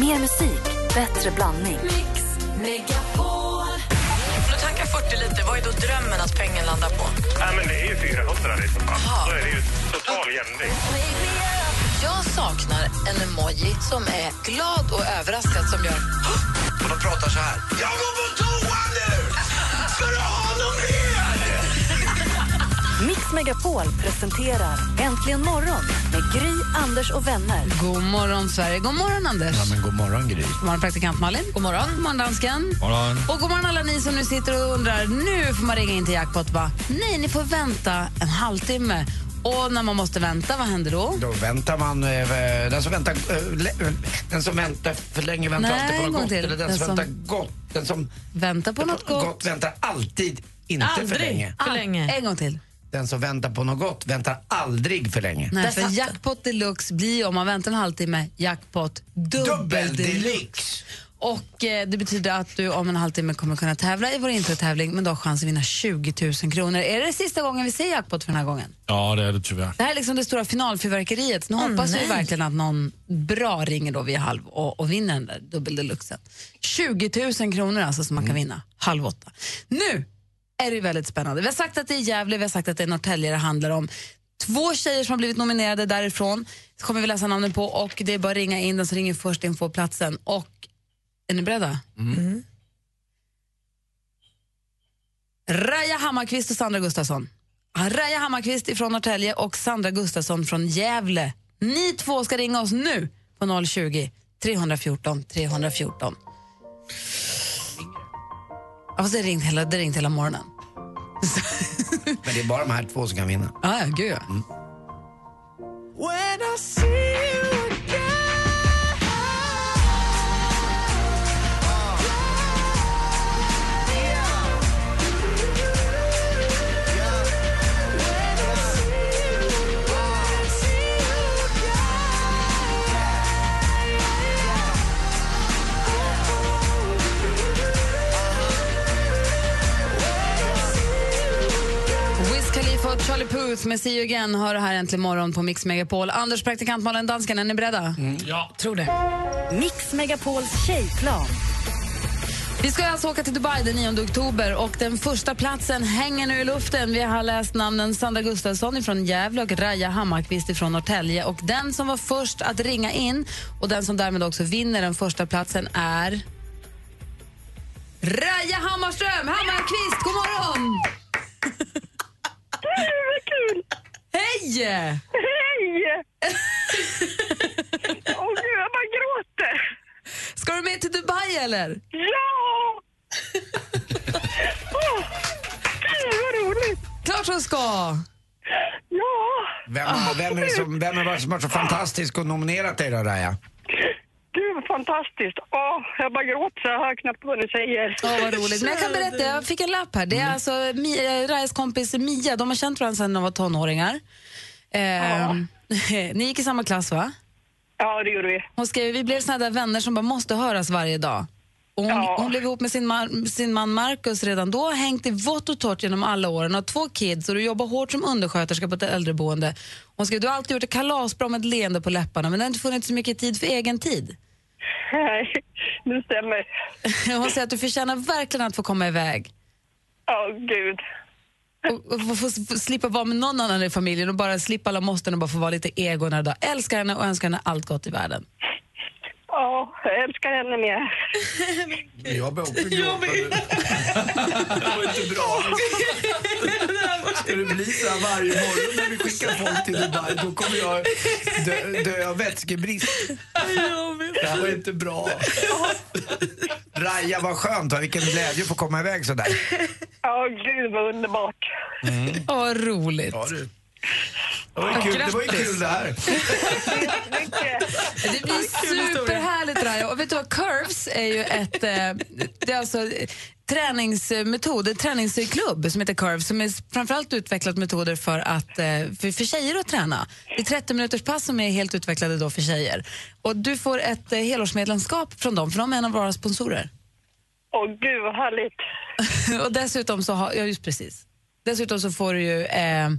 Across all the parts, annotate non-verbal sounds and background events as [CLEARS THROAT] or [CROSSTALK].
Mer musik, bättre blandning. Mix Megapol. Om du tankar 40 liter, vad är då drömmen att pengen landar på? Nej, men det är ju 400 i så fall. Jaha. Då är det ju total jämning. Jag saknar en emoji som är glad och överraskad som gör Och de pratar så här. Jag går på toa nu! Ska du ha något mer? Mix Megapol presenterar Äntligen morgon med Gry, Anders och vänner. God morgon, Sverige. God morgon, Anders. Ja, men god morgon, Gry. God morgon, praktikant Malin. God morgon. God morgon, dansken. Morgon. Och god morgon alla ni som nu sitter och undrar, nu får man ringa in till Jackpot va? Nej, ni får vänta en halvtimme. Och när man måste vänta, vad händer då? Då väntar man... eh, Den som väntar, eh, le- den som väntar för länge väntar Nej, alltid på en gång något gott. till. Eller den, Den som som- väntar gott. Den som Vänta på något gott. väntar alltid inte för länge. Ah, En gång till. Den som väntar på något gott väntar aldrig för länge. Nej, för Jackpot Deluxe blir ju, om man väntar en halvtimme, Jackpot Dubbel Dubbel Deluxe. deluxe! Och eh, det betyder att du om en halvtimme kommer kunna tävla i vår introtävling men då har chans att vinna 20 000 kronor. Är det sista gången vi ser Jackpot för den här gången? Ja, det är det tyvärr. Det här är liksom det stora finalfyrverkeriet. Nu hoppas vi verkligen att någon bra ringer då vid halv och, och vinner den där dubbel deluxen. 20 000 kronor alltså som man Mm. kan vinna halv åtta. Nu är det ju väldigt spännande. Vi har sagt att det är Gävle, vi har sagt att det är Norrtälje det handlar om. Två tjejer som har blivit nominerade därifrån kommer vi läsa namnen på och det är bara att ringa in den som ringer först in får platsen. Och är ni beredda? Raja Hammarkvist och Sandra Gustafsson. Raja Hammarkvist ifrån Norrtälje och Sandra Gustafsson från Gävle. Ni två ska ringa oss nu på 020 314 314. Ja, fast det har ringt hela, det har ringt hela morgonen. Men det är bara de här två som kan vinna. Ah, ja, gud ja. Wiz Khalifa och Charlie Puth med See You Again hör det här äntligen morgon på Mix Megapol. Anders, praktikant Malin Dansken, är ni beredda? Ja. Tror det. Mix Megapols tjejplan. Vi ska alltså åka till Dubai den 9 oktober och den första platsen hänger nu i luften. Vi har läst namnen Sandra Gustafsson från Gävle och Raja Hammarkvist från Norrtälje. Och den som var först att ringa in och den som därmed också vinner den första platsen är Raja Hammarström Hammarkvist. God morgon! Hej, vad kul! Hej! Hej! Åh gud, jag bara gråter. Ska du med till Dubai eller? Ja! Åh, gud vad roligt! Klart du ska! Ja! Vem, vem, är det som, vem är det som har varit så fantastisk och nominerat dig då, Raja? Gud vad fantastiskt. Åh, jag bara gråter så jag hör knappt vad ni säger. Åh, vad roligt. Men jag kan berätta, jag fick en lapp här. Det är alltså Mi- eh, Rajas kompis Mia, de har känt varandra sedan de var tonåringar. Eh, [LAUGHS] Ni gick i samma klass va? Ja, det gjorde vi. Hon skrev, vi blev såna där vänner som bara måste höras varje dag. Och hon, Ja. hon blev ihop med sin, mar- sin man Marcus redan då, har hängt i vått och torrt genom alla åren, har två kids och du jobbar hårt som undersköterska på ett äldreboende. Hon skrev, du har alltid gjort ett kalasbra med ett leende på läpparna men det har inte funnits så mycket tid för egen tid. [LAUGHS] Nej, det stämmer. Hon säger att du förtjänar verkligen att få komma iväg. Åh gud. Och, och få, få, få slippa vara med någon annan i familjen och bara slippa alla måsten och bara få vara lite ego när dag. Älskar henne och önskar henne allt gott i världen. [CLEARS THROAT] Ja, jag älskar henne med. Jag börjar också gråta nu. Det var inte bra. Ska det bli så här varje morgon när vi skickar folk till Dubai, då kommer jag dö, dö av vätskebrist. Det här var inte bra. Raja, vad skönt. va? Vilken glädje att få komma iväg så där. Åh gud vad underbart. Åh, vad roligt. Ja, du. Det var ju kul det, var ju kul det här. Det blir superhärligt Raja. Och vet du vad, curves är ju ett, eh, det är alltså eh, träningsmetod, en träningsklubb som heter Curves som är s- framförallt utvecklat metoder för, att, eh, för, för tjejer att träna. Det är 30 minuters pass som är helt utvecklade då för tjejer. Och du får ett eh, helårsmedlemskap från dem, för de är en av våra sponsorer. Åh gud vad härligt. [LAUGHS] Och dessutom så har, ja just precis. Dessutom så får du ju eh,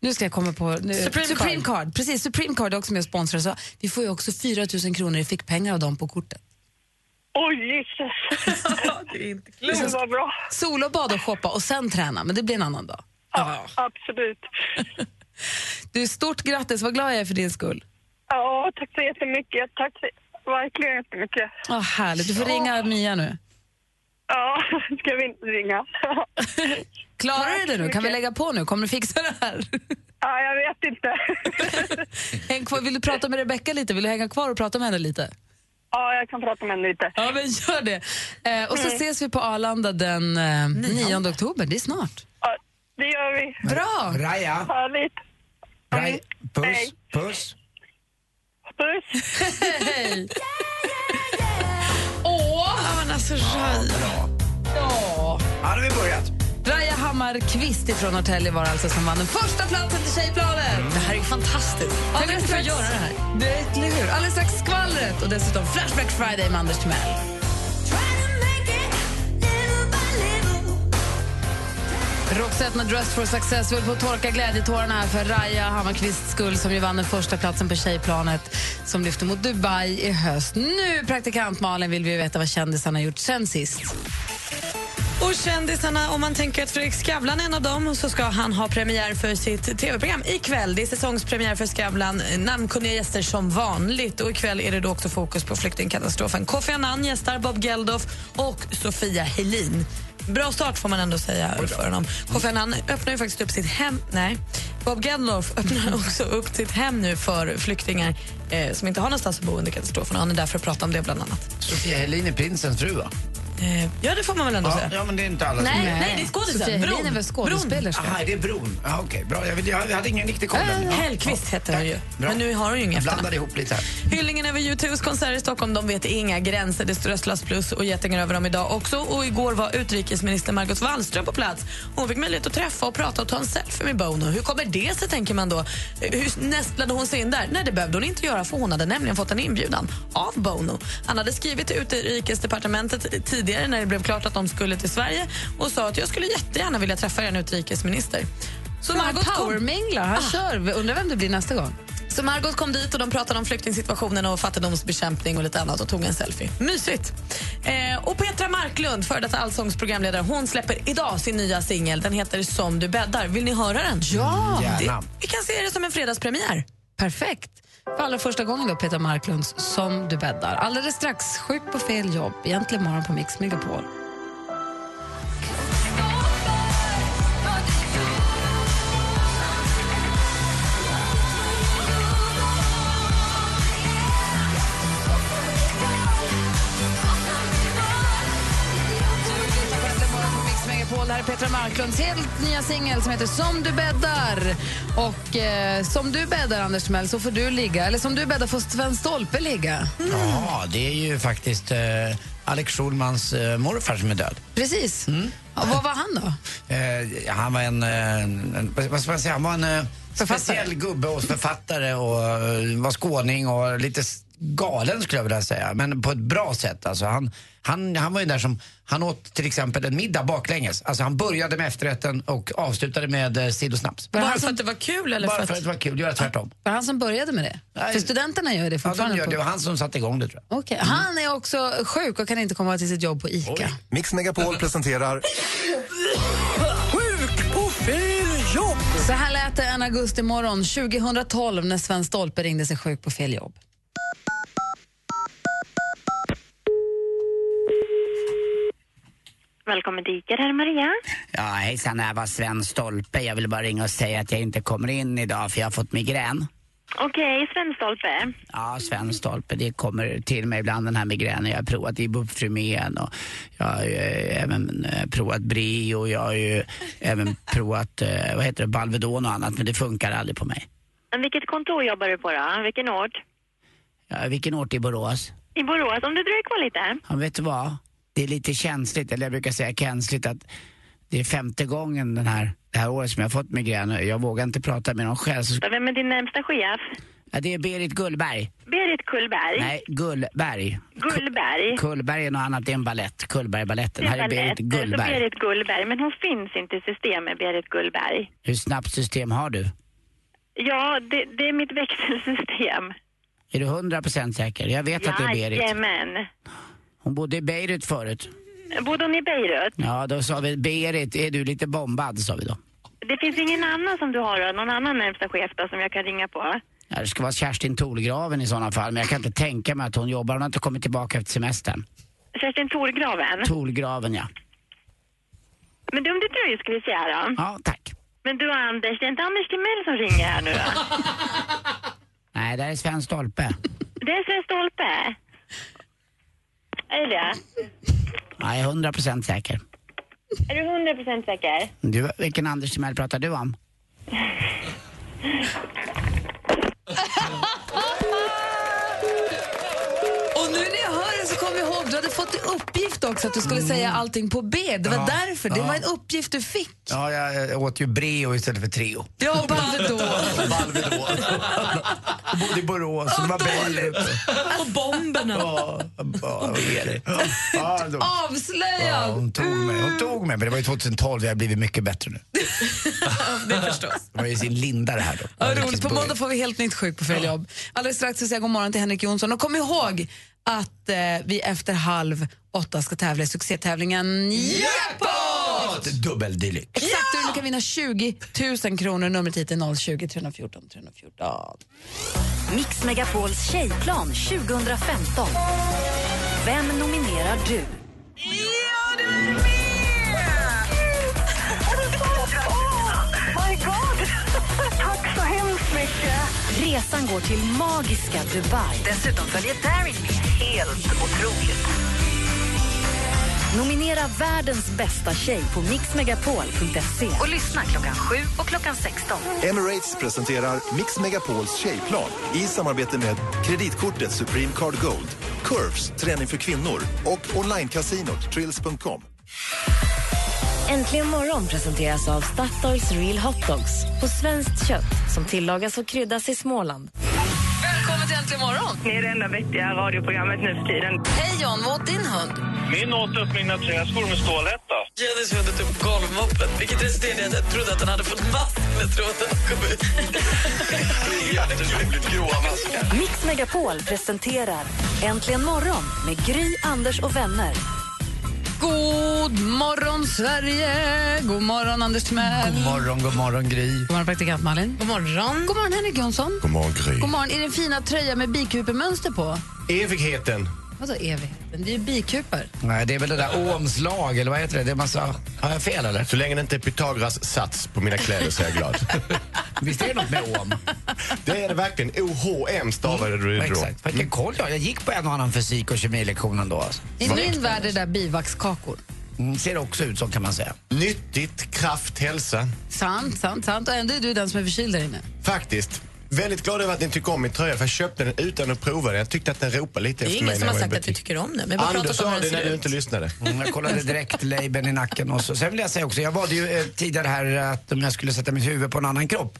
Nu ska jag komma på... Nu, Supreme Card. Precis, Supreme Card är också med och sponsrar. Så vi får ju också 4 000 kronor i fickpengar av dem på kortet. Oj, jisses. Det är inte klokt. Det var bra. Sol och bad och shoppa och sen träna, men det blir en annan dag. Ja, absolut. Du, stort grattis. Vad glad jag är för din skull. Ja, tack så jättemycket. Tack så verkligen jättemycket. Åh, härligt. Du får ringa Mia nu. Ja, ska vi inte ringa? Klarar du det nu? Kan vi mycket. lägga på nu? Kommer du fixa det [LAUGHS] här? Ja, jag vet inte. Häng kvar. Vill du prata med Rebecca lite? Vill du hänga kvar och prata med henne lite? Ja, jag kan prata med henne lite. Ja, men gör det. Eh, och så ses vi på Arlanda den eh, 9 oktober. Det är snart. Ja, det gör vi. Bra! Raja, Härligt. Raja. Puss, Hej. puss. Puss. Hej! Åh! Men alltså, Raja. Ja. Ja, nu har vi börjat. Raja Hammarkvist ifrån Norrtälje var alltså som vann den första platsen till Tjejplanet. Mm. Det här är ju fantastiskt. Tänk att vi får göra det här. Det, eller hur? Alldeles strax skvallret och dessutom Flashback Friday med Anders Timell. Roxette med Dress for Success. Vi höll på att torka glädjetårarna här för Raja Hammarkvists skull som ju vann den första platsen på tjejplanet som lyfte mot Dubai i höst. Nu, praktikant Malin, vill vi ju veta vad kändisarna gjort sen sist. Och kändisarna, om man tänker att Fredrik Skavlan är en av dem så ska han ha premiär för sitt tv-program ikväll. Det är säsongspremiär för Skavlan, eh, namnkunniga gäster som vanligt. Och ikväll är det då också fokus på flyktingkatastrofen. Kofi Annan gästar, Bob Geldof och Sofia Helin. Bra start får man ändå säga för honom. Kofi Annan öppnar ju faktiskt upp sitt hem... Nej. Bob Geldof [LAUGHS] öppnar också upp sitt hem nu för flyktingar eh, som inte har någonstans att bo under katastrofen. Och Han är där för att prata om det bland annat. Sofia Helin är prinsens fru, va? Eh, ja, det får man väl ändå Ja, säga. ja, men det är inte alla som... Nej, nej, det är Sofia skådisen. Helin är väl Bron. Bron. skådespelerska? Aha, det är bron. Ja, Okej, bra. Jag, vet- jag hade ingen riktig koll. Äh, Hellqvist hette hon ju. Bra. Men nu har hon ju inga efternamn. Blandade ihop lite här. Hyllningen över U2s konserter i Stockholm, de vet inga gränser. Det strösslas plus och getingar över dem idag också. Och igår var utrikesminister Margot Wallström på plats. Hon fick möjlighet att träffa och prata och ta en selfie med Bono. Hur kommer det sig, tänker man då? Hur nästlade hon sig in där? Nej, det behövde hon inte göra för hon hade nämligen fått en inbjudan av Bono. Han hade skrivit till utrikesdepartementet tidigare när det blev klart att de skulle till Sverige och sa att jag skulle jättegärna vilja träffa er utrikesminister. Så Han Margot kom. powerminglar, han kör. Undrar vem det blir nästa gång. Så Margot kom dit och de pratade om flyktingsituationen och fattigdomsbekämpning och lite annat och tog en selfie. Mysigt! Eh, och Petra Marklund, före detta allsångsprogramledare, hon släpper idag sin nya singel. Den heter Som du bäddar. Vill ni höra den? Ja! Gärna. Vi kan se det som en fredagspremiär. Perfekt. För allra första gången då, Peter Marklunds Som du bäddar. Alldeles strax, Sjuk på fel jobb, egentligen morgon på Mix Megapol. Mix Megapol. Det här är Petra Marklunds helt nya singel som heter Som du bäddar. Och eh, som du bäddar, Anders Timell, så får du ligga. Eller som du bäddar får Sven Stolpe ligga. Mm. Ja, det är ju faktiskt eh, Alex Schulmans eh, morfar som är död. Precis. Och vad var han då? Eh, han var en, eh, en, vad ska man säga, han var en eh, Författare. speciell gubbe och författare och eh, var skåning och lite s- galen skulle jag vilja säga, men på ett bra sätt. Alltså, han, han, han var ju där som, han åt till exempel en middag baklänges. Alltså, han började med efterrätten och avslutade med eh, sill och snaps. Var det Bara han för som, att det var kul? Eller Bara för att det var kul, göra tvärtom. var det han som började med det? Nej. För studenterna gör det Ja, de fortfarande. gör det. Det var han som satte igång det tror jag. på... Okej. Han är också sjuk och kan inte komma till sitt jobb på ICA. Mix Megapol presenterar Så här lät det en augustimorgon 2012 när Sven Stolpe ringde sig sjuk på fel jobb. Välkommen till Ica, här är Maria. Ja, hejsan, det här var Sven Stolpe. Jag vill bara ringa och säga att jag inte kommer in idag för jag har fått migrän. Okej, Svenstolpe. Ja, Sven Stolpe, det kommer till mig ibland den här migränen. Jag har provat Ibuprofen och jag har ju eh, även eh, provat Brio och jag har ju även provat, eh, vad heter det, Balvedon och annat, men det funkar aldrig på mig. Men Vilket kontor jobbar du på då? Vilken ort? Ja, vilken ort i Borås? I Borås, om du dröjer kvar lite. Ja, vet du vad? Det är lite känsligt, eller jag brukar säga känsligt att det är femte gången den här, det här året som jag har fått migrän. Jag vågar inte prata med någon själv. Så, Vem är din närmsta chef? ja, det är Berit Gullberg. Berit Kullberg. Nej, Gullberg. Gullberg. Kullberg är något annat, det är en balett. Kullbergbaletten. Det Här är Alltså, balett. Berit Så Gullberg. Berit Gullberg, men hon finns inte i systemet, Berit Gullberg. Hur snabbt system har du? Ja, det, det är mitt växelsystem. Är du 100% säker? Jag vet att det är Berit. Jajamän. Hon bodde i Beirut förut. Bodde hon i Beirut? Ja, då sa vi Berit, är du lite bombad? sa vi då. Det finns ingen annan som du har, då? någon annan närmsta chef då, som jag kan ringa på? Ja, det ska vara Kerstin Tolgraven i sådana fall, men jag kan inte tänka mig att hon jobbar. Hon har inte kommit tillbaka efter semestern. Kerstin Thorgraven? Tolgraven, ja. Men du, om det dröjer ska vi se här då. Ja, tack. Men du Anders, det är inte Anders Timell som ringer här nu då? Nej, det här är Sven Stolpe. Det är Sven Stolpe. Är det det? Jag är 100% säker. Är du hundra procent säker? Du, vilken Anders Timell pratar du om? Och nu när jag hör det så kom jag ihåg, du hade fått i uppgift också att du skulle säga allting på B. Det var Ja, därför, det ja. var en uppgift du fick. Ja, jag eh, åt ju Breo istället för Treo. Ja, och Balvedon. Jag bodde i Borås, så det var Beirut. Och [LAUGHS] bomberna. Ja, ja, Berit. Ja, då- Ja, Avslöjad! hon tog mig, hon tog mig. Men det var ju 2012, jag har blivit mycket bättre nu. [LAUGHS] det förstås. Det var ju sin linda det här då. Ja, roligt. På måndag får vi helt nytt sjuk på fel jobb. Alldeles strax ska jag säga god morgon till Henrik Jonsson. Och kom ihåg att eh, vi efter halv åtta ska tävla i succétävlingen Jackpot! Dubbeldeluxe. Exakt, och du kan vinna 20 000 kronor. Numret hit är 020 314 314. Mix Megapols tjejplan 2015. Vem nominerar du? Oh My God! Tack så hemskt mycket. Resan går till magiska Dubai. Dessutom följer Darin med. Helt otroligt. Nominera världens bästa tjej på mixmegapol.se. Och lyssna klockan 7 och klockan 16. Emirates presenterar Mix Megapols tjejplan i samarbete med kreditkortet Supreme Card Gold, Curves, träning för kvinnor och onlinecasinot Trills.com. Äntligen morgon presenteras av Statoils Real Hot Dogs på svenskt kött som tillagas och kryddas i Småland. Välkommen till Äntligen morgon! Ni är det enda vettiga radioprogrammet nu för tiden. Hej John, vad åt din hund? Min åt upp mina träskor med stålhätta. Jennys hund åt upp golvmoppen, vilket resulterade i att jag trodde att han hade fått mask när tråden kom ut. Det är jätteroligt gråa maskar. Mix Megapol presenterar Äntligen morgon med Gry, Anders och vänner. God morgon, Sverige! God morgon, Anders Timell. God morgon, god morgon Gry. God morgon, praktikant Malin. God morgon. God morgon, Henrik Jonsson. God morgon, Gry. God morgon. Är det en fina tröja med bikupemönster på? Evigheten. Vadå evigheten? Det är ju bikuper. Nej, det är väl det där Ohms lag, eller vad heter det? det är massa... Har jag fel eller? Så länge det inte är Pythagoras sats på mina kläder så är jag glad. Visst är det något med Ohm? Det är det verkligen. OHM stavade du det då. Exakt. Vilken koll jag har. Jag gick på en och annan fysik och kemilektion ändå. Alltså. I min värld är det där bivaxkakor. Mm, ser också ut så kan man säga. Nyttigt, kraft, hälsa. Sant, sant, sant. Och ändå är du den som är förkyld där inne. Faktiskt. Väldigt glad över att ni tycker om min tröja för jag köpte den utan att prova den. Jag tyckte att den ropade lite Det är efter ingen mig. som har när jag sagt var i att vi butik. tycker om det. Vi har bara Anders pratat sa om hur det den när du ser ut. inte lyssnade. Mm, jag kollade direkt labeln i nacken och så. Sen vill jag säga också, jag valde ju eh, tidigare här att om jag skulle sätta mitt huvud på en annan kropp,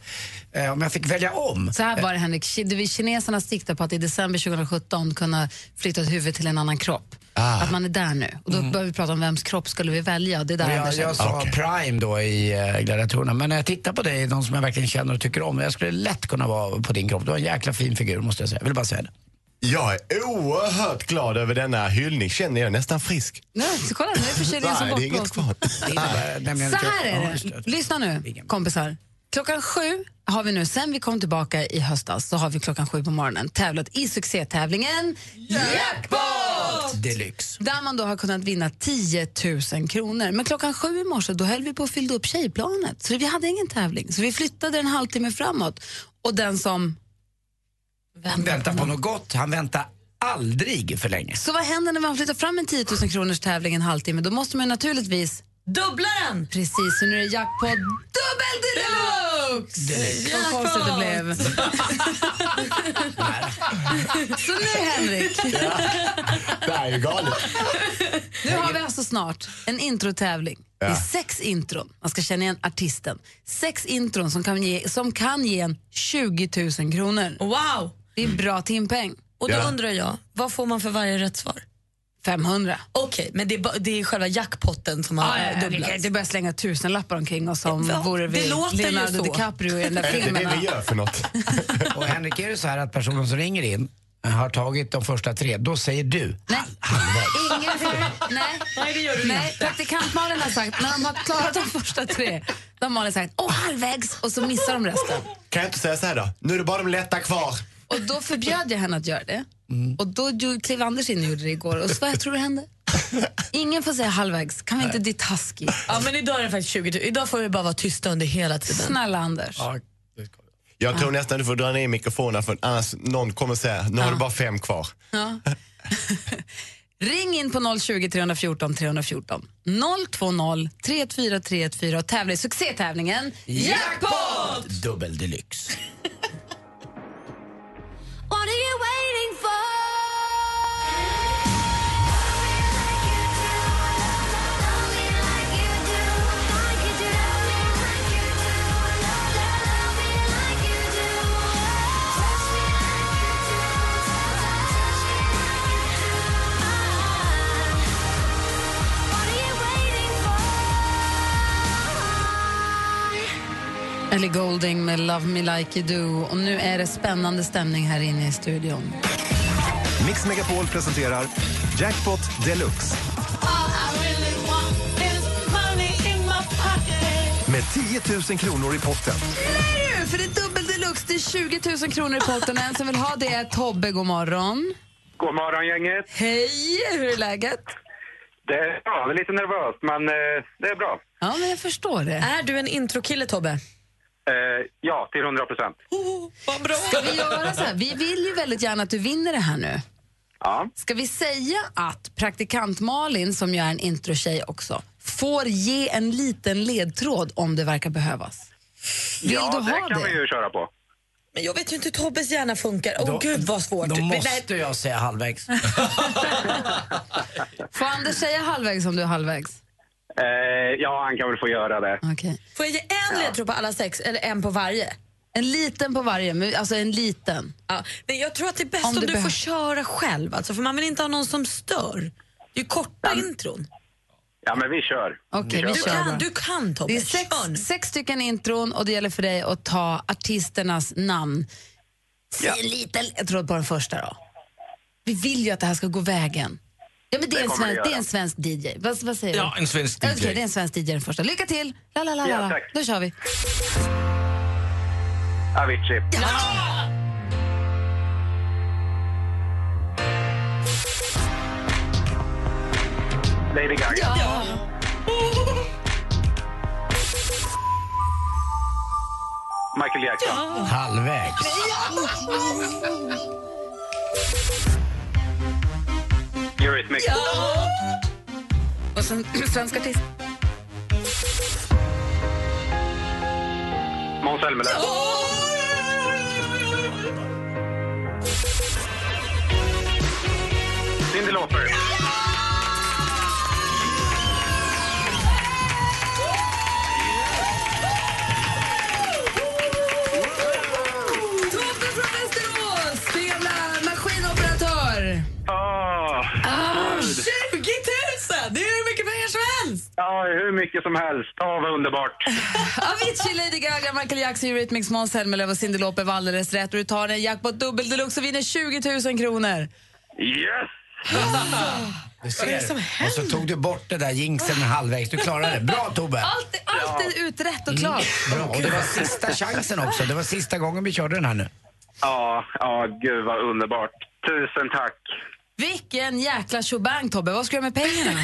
eh, om jag fick välja om. Så här var det, Henrik. Ki- du, Kineserna siktar på att i december 2017 kunna flytta ett huvud till en annan kropp. Ah. Att man är där nu. Och då Mm. börjar vi prata om vems kropp skulle vi välja. Och Det är där Och Anders jag, är. jag sa prime då i eh, gladiatorerna, men när jag tittar på dig, de som jag verkligen känner och tycker om, jag skulle lätt kunna vara på din kropp. Du har en jäkla fin figur måste jag säga. Jag vill bara säga det. Jag är oerhört glad över denna hyllning. Känner jag nästan frisk. Nej, så kolla, nu är förkylningen [LAUGHS] som Nej, det är inget bortblåst. kvar. Ah. Så här är det. Lyssna nu, kompisar. Klockan sju har vi nu, sen vi kom tillbaka i höstas, så har vi klockan sju på morgonen tävlat i succétävlingen Jackpot! Deluxe. Där man då har kunnat vinna 10 000 kronor. Men klockan sju i morse då höll vi på att fylla upp tjejplanet, så vi hade ingen tävling. Så vi flyttade en halvtimme framåt. Och den som... Han väntar på något gott, han väntar aldrig för länge. Så vad händer när man flyttar fram en 10 000 kronors tävling en halvtimme? Då måste man ju naturligtvis dubbla den! Precis, så nu är det jackpot dubbel deluxe! Deluxe. Vad konstigt det blev. [LAUGHS] så nu Henrik, Det här är ju galet. nu har vi alltså snart en introtävling. Det är sex intron, man ska känna igen artisten. Sex intron som kan ge, som kan ge en 20 000 kronor. Wow! Det är bra timpeng. Och då undrar jag, vad får man för varje rätt svar? 500. Okej, men det är, ba- det är själva jackpotten som Ja, har eh, ja, vi kan dubblats. inte börja slänga tusenlappar omkring oss som Ja, vore det vi låter ju Leonardo så. DiCaprio i [LAUGHS] den där Är det inte filmen. det vi gör för något? Och Henrik, är det så här att personen som ringer in har tagit de första tre, då säger du Ingen för, nej. Nej, det gör du nej. inte. Praktikant-Malin har sagt, när de har klarat de första tre, då har Malin sagt åh halvvägs och så missar de resten. Kan jag inte säga så här då? Nu är det bara de lätta kvar. Och då förbjöd jag henne att göra det. Och då gjorde- klev Anders in och gjorde det igår och så vad jag tror det hände? Ingen får säga halvvägs, kan vi inte bli taskig? Ja, men idag är det faktiskt 20 Idag får vi bara vara tysta under hela tiden. Snälla Anders. Jag tror nästan du får dra ner mikrofonen för annars någon kommer säga nu har du bara fem kvar. Ja. Ring in på 020 314 314. 020 343 314 och tävla i succétävlingen Jackpot! dubbel deluxe. What are you waiting for? Ellie Golding med Love Me Like You Do. Och nu är det spännande stämning här inne i studion. Mix Megapol presenterar Jackpot Deluxe med 10 000 kronor i potten. Är du? För det är dubbel deluxe, det är 20 000 kronor i potten. En som vill ha det är Tobbe, god morgon. God morgon gänget. Hej, hur är läget? Det är bra, det är lite nervöst men eh, det är bra. Ja, men jag förstår det. Är du en introkille, Tobbe? Eh, ja, till 100 procent. Ska vi göra så här? Vi vill ju väldigt gärna att du vinner det här nu. Ja. Ska vi säga att praktikant Malin, som ju är en introtjej också, får ge en liten ledtråd om det verkar behövas? Vill ja, du ha det kan det? vi ju köra på. Men jag vet ju inte hur Tobbes hjärna funkar. Åh Då- gud vad svårt. Då Men nej, måste jag säga halvvägs. Får Anders säga halvvägs om du är halvvägs? Eh, ja, han kan väl få göra det. Får jag ge en ledtråd på alla sex eller en på varje? En liten på varje, men alltså en liten. Ja, nej, jag tror att det är bäst Om om, det du får behövs. köra själv, alltså, för man vill inte ha någon som stör. Det är ju korta intron. Ja, men vi kör. Okej, vi du, kör kan, bara. du kan Tobbe. Det är sex, sex stycken intron och det gäller för dig att ta artisternas namn. Säg en liten ledtråd på den första då. Vi vill ju att det här ska gå vägen. Ja, men det, är Det en kommer det svensk, göra. det är en svensk DJ. Vad, vad säger Ja, du? en svensk Okej, DJ. det är en svensk DJ den första. Lycka till! La, la, la, Ja, la. la. tack. Då kör vi. Avicii. Lady Gaga. Ja. Michael Jackson. Halvvägs. Eurythmics. Och sen [CLEARS THROAT] svensk artist. Måns Zelmerlöw. Cyndi Lauper. Tobbe från Västerås! Spela maskinoperatör. Åh, Ah, gud. 20 000! Det är hur mycket pengar som helst! Ja, hur mycket som helst. Ja, vad underbart. Avicii, Lady Gaga, Michael Jackson, Eurythmics, Måns Zelmerlöw och Cyndi Lauper var alldeles rätt. Och du tar en jackpot dubbel deluxe och vinner 20 000 kronor. Eh. Yes! Du Vad är det som ser. Och så tog du bort det där jinxen med halvvägs. Du klarade det. Bra Tobbe! Allt, allt är utrett och klart. Bra. Och det var sista chansen också. Det var sista gången vi körde den här nu. Ja, ja, gud vad underbart. Tusen tack. Vilken jäkla shobang, Tobbe. Vad ska du göra med pengarna?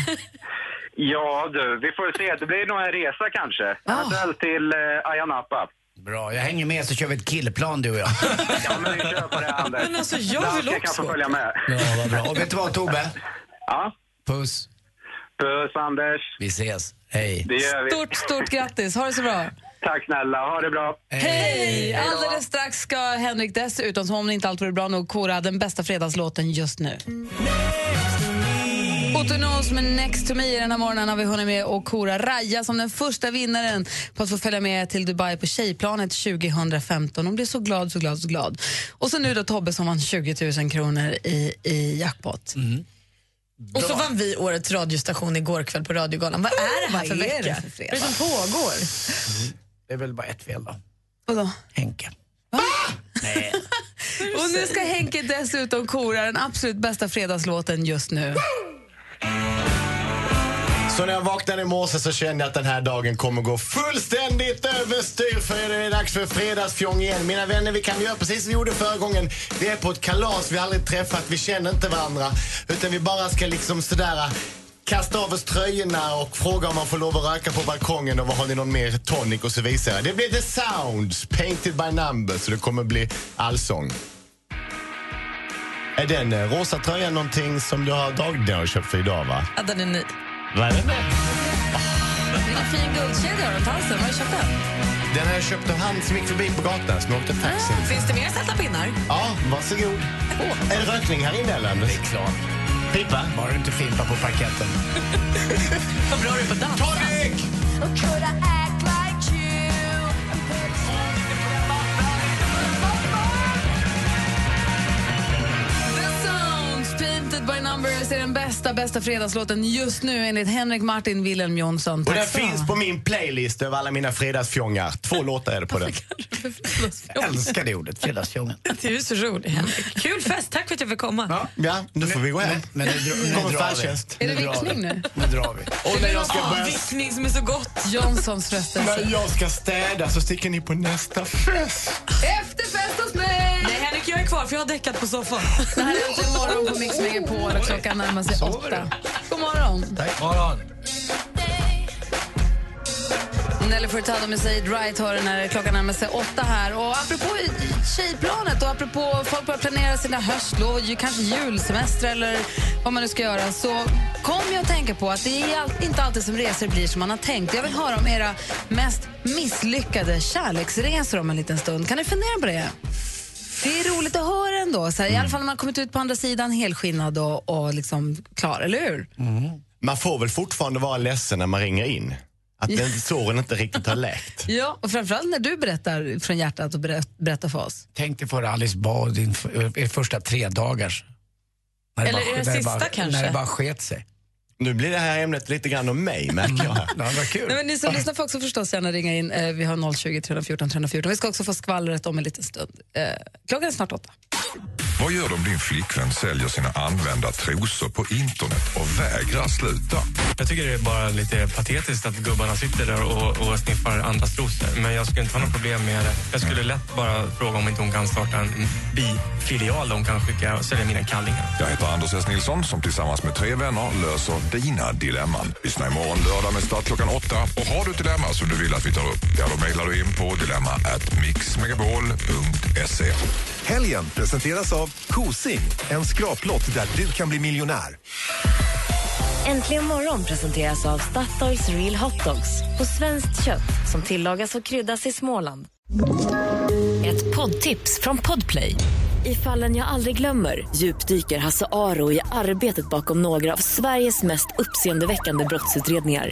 Ja, du, vi får se. Det blir nog en resa kanske. Ah. Eventuellt till eh, Ayia Napa. Bra, jag hänger med så kör vi ett killplan du och jag. Ja, men vi kör på det, Anders. Men alltså, jag vill Danska kan också. få följa med. Ja, vad bra. Och vet du vad Tobbe? Ja? Puss. Puss, Anders. Vi ses. Hej. Det gör vi. Stort, stort grattis. Ha det så bra. Tack snälla. Ha det bra. Hej! Hej då. Alldeles strax ska Henrik dessutom, som om inte allt vore bra nog, kora den bästa fredagslåten just nu. Otto Knows med Next to me den här morgonen har vi hunnit med och kora Raja som den första vinnaren på att få följa med till Dubai på tjejplanet 2015. Hon blev så glad, så glad, så Mm. glad. Och så nu då Tobbe som vann 20 000 kronor i, i jackpot. Och så vann vi årets radiostation igår kväll på radiogalan. Vad är det här Vad för är det vecka? för fredag? Vad är det som pågår? Det är väl bara ett fel då. Vadå? Henke. Nej. [LAUGHS] Och nu ska Henke dessutom kora den absolut bästa fredagslåten just nu. Så när jag vaknade i morse så kände jag att den här dagen kommer gå fullständigt överstyr för det är dags för fredagsfjong igen. Mina vänner, vi kan göra precis som vi gjorde förra gången. Vi är på ett kalas vi aldrig träffat, vi känner inte varandra. Utan vi bara ska liksom sådär kasta av oss tröjorna och fråga om man får lov att röka på balkongen och vad har ni någon mer tonic och så vidare. Det blir The Sounds, Painted by Numbers, så det kommer bli allsång. Är den eh, rosa tröjan någonting som du har Dag köpt för idag va? Ja, den är ny. Vad är det? Vilken fin guldkedja har du runt halsen. Var har du köpt den? Den har jag köpt av han som gick förbi på gatan som åkte Ah. taxi. Finns det mer sätta pinnar? Ja, varsågod. Oh. Är det rökning här inne eller? Det är klart. Pipa? Var du inte fimpa på parketten? Vad bra du är på dans. Tonic! Could I act like you? The Sounds, Painted by Numbers är den bästa, bästa fredagslåten just nu enligt Henrik Martin Wilhelm Jonsson. Och den Tack ska du ha. finns [LAUGHS] på min playlist över alla mina fredagsfjongar. Två låtar är det på den. Jag älskar det ordet, fredagsfjongen. Du är så rolig, Henrik. Kul fest. Tack för att jag fick komma. Ja, nu får vi gå hem. Men nu, dra- nu kommer drar färdtjänst. vi. Är det drar vickning vi. nu? Nu drar vi. Och när jag ska börja... Vickning som är så gott. Jonssons frestelse. När jag ska städa så sticker ni på nästa fest. Efterfest hos mig! Nej, Henrik, jag är kvar för jag har däckat på soffan. Det här är Äntligen morgon på Mix Megapol och klockan närmar sig åtta. God morgon! Tack. Morgon. Nelly Furtado med Say It Right hör den när klockan närmar sig åtta här. Och apropå tjejplanet och apropå folk börjar planera sina höstlov, ju- kanske julsemester eller vad man nu ska göra, så kom jag att tänka på att det är all- inte alltid som resor blir som man har tänkt. Jag vill höra om era mest misslyckade kärleksresor om en liten stund. Kan ni fundera på det? Det är roligt att höra ändå, så här, i alla fall när man kommit ut på andra sidan helskinnad och, och liksom klar, eller hur? Man får väl fortfarande vara ledsen när man ringer in? Att den såren inte riktigt har läkt. Ja, och framförallt när du berättar från hjärtat och berä- berättar för oss. Tänk dig för Alice Bah din, f- eh, er första tre dagars. När det Eller bara- när er det sista bara, kanske? När det bara sket sig. Nu blir det här ämnet lite grann om mig, märker jag. ja, vad kul. Nej, men ni som lyssnar får också förstås gärna ringa in. Eh, Vi har 020 314 314. Vi ska också få skvallret om en liten stund. Eh, Klockan är snart åtta. Vad gör du om din flickvän säljer sina använda trosor på internet och vägrar sluta? Jag tycker det är bara lite patetiskt att gubbarna sitter där och, och sniffar andras trosor. Men jag skulle inte ha något problem med det. Jag skulle lätt bara fråga om inte hon kan starta en bifilial där hon kan skicka och sälja mina kallingar. Jag heter Anders S. Nilsson som tillsammans med tre vänner löser dina dilemman. Lyssna imorgon lördag med start klockan åtta. Och har du ett dilemma som du vill att vi tar upp, ja då mejlar du in på dilemma at mixmegapol.se. Helgen presenteras av Kosing, en skraplott där du kan bli miljonär. Äntligen morgon presenteras av Statoils Real Hot Dogs på svenskt kött som tillagas och kryddas i Småland. Ett poddtips från Podplay. I fallen jag aldrig glömmer djupdyker Hasse Aro i arbetet bakom några av Sveriges mest uppseendeväckande brottsutredningar.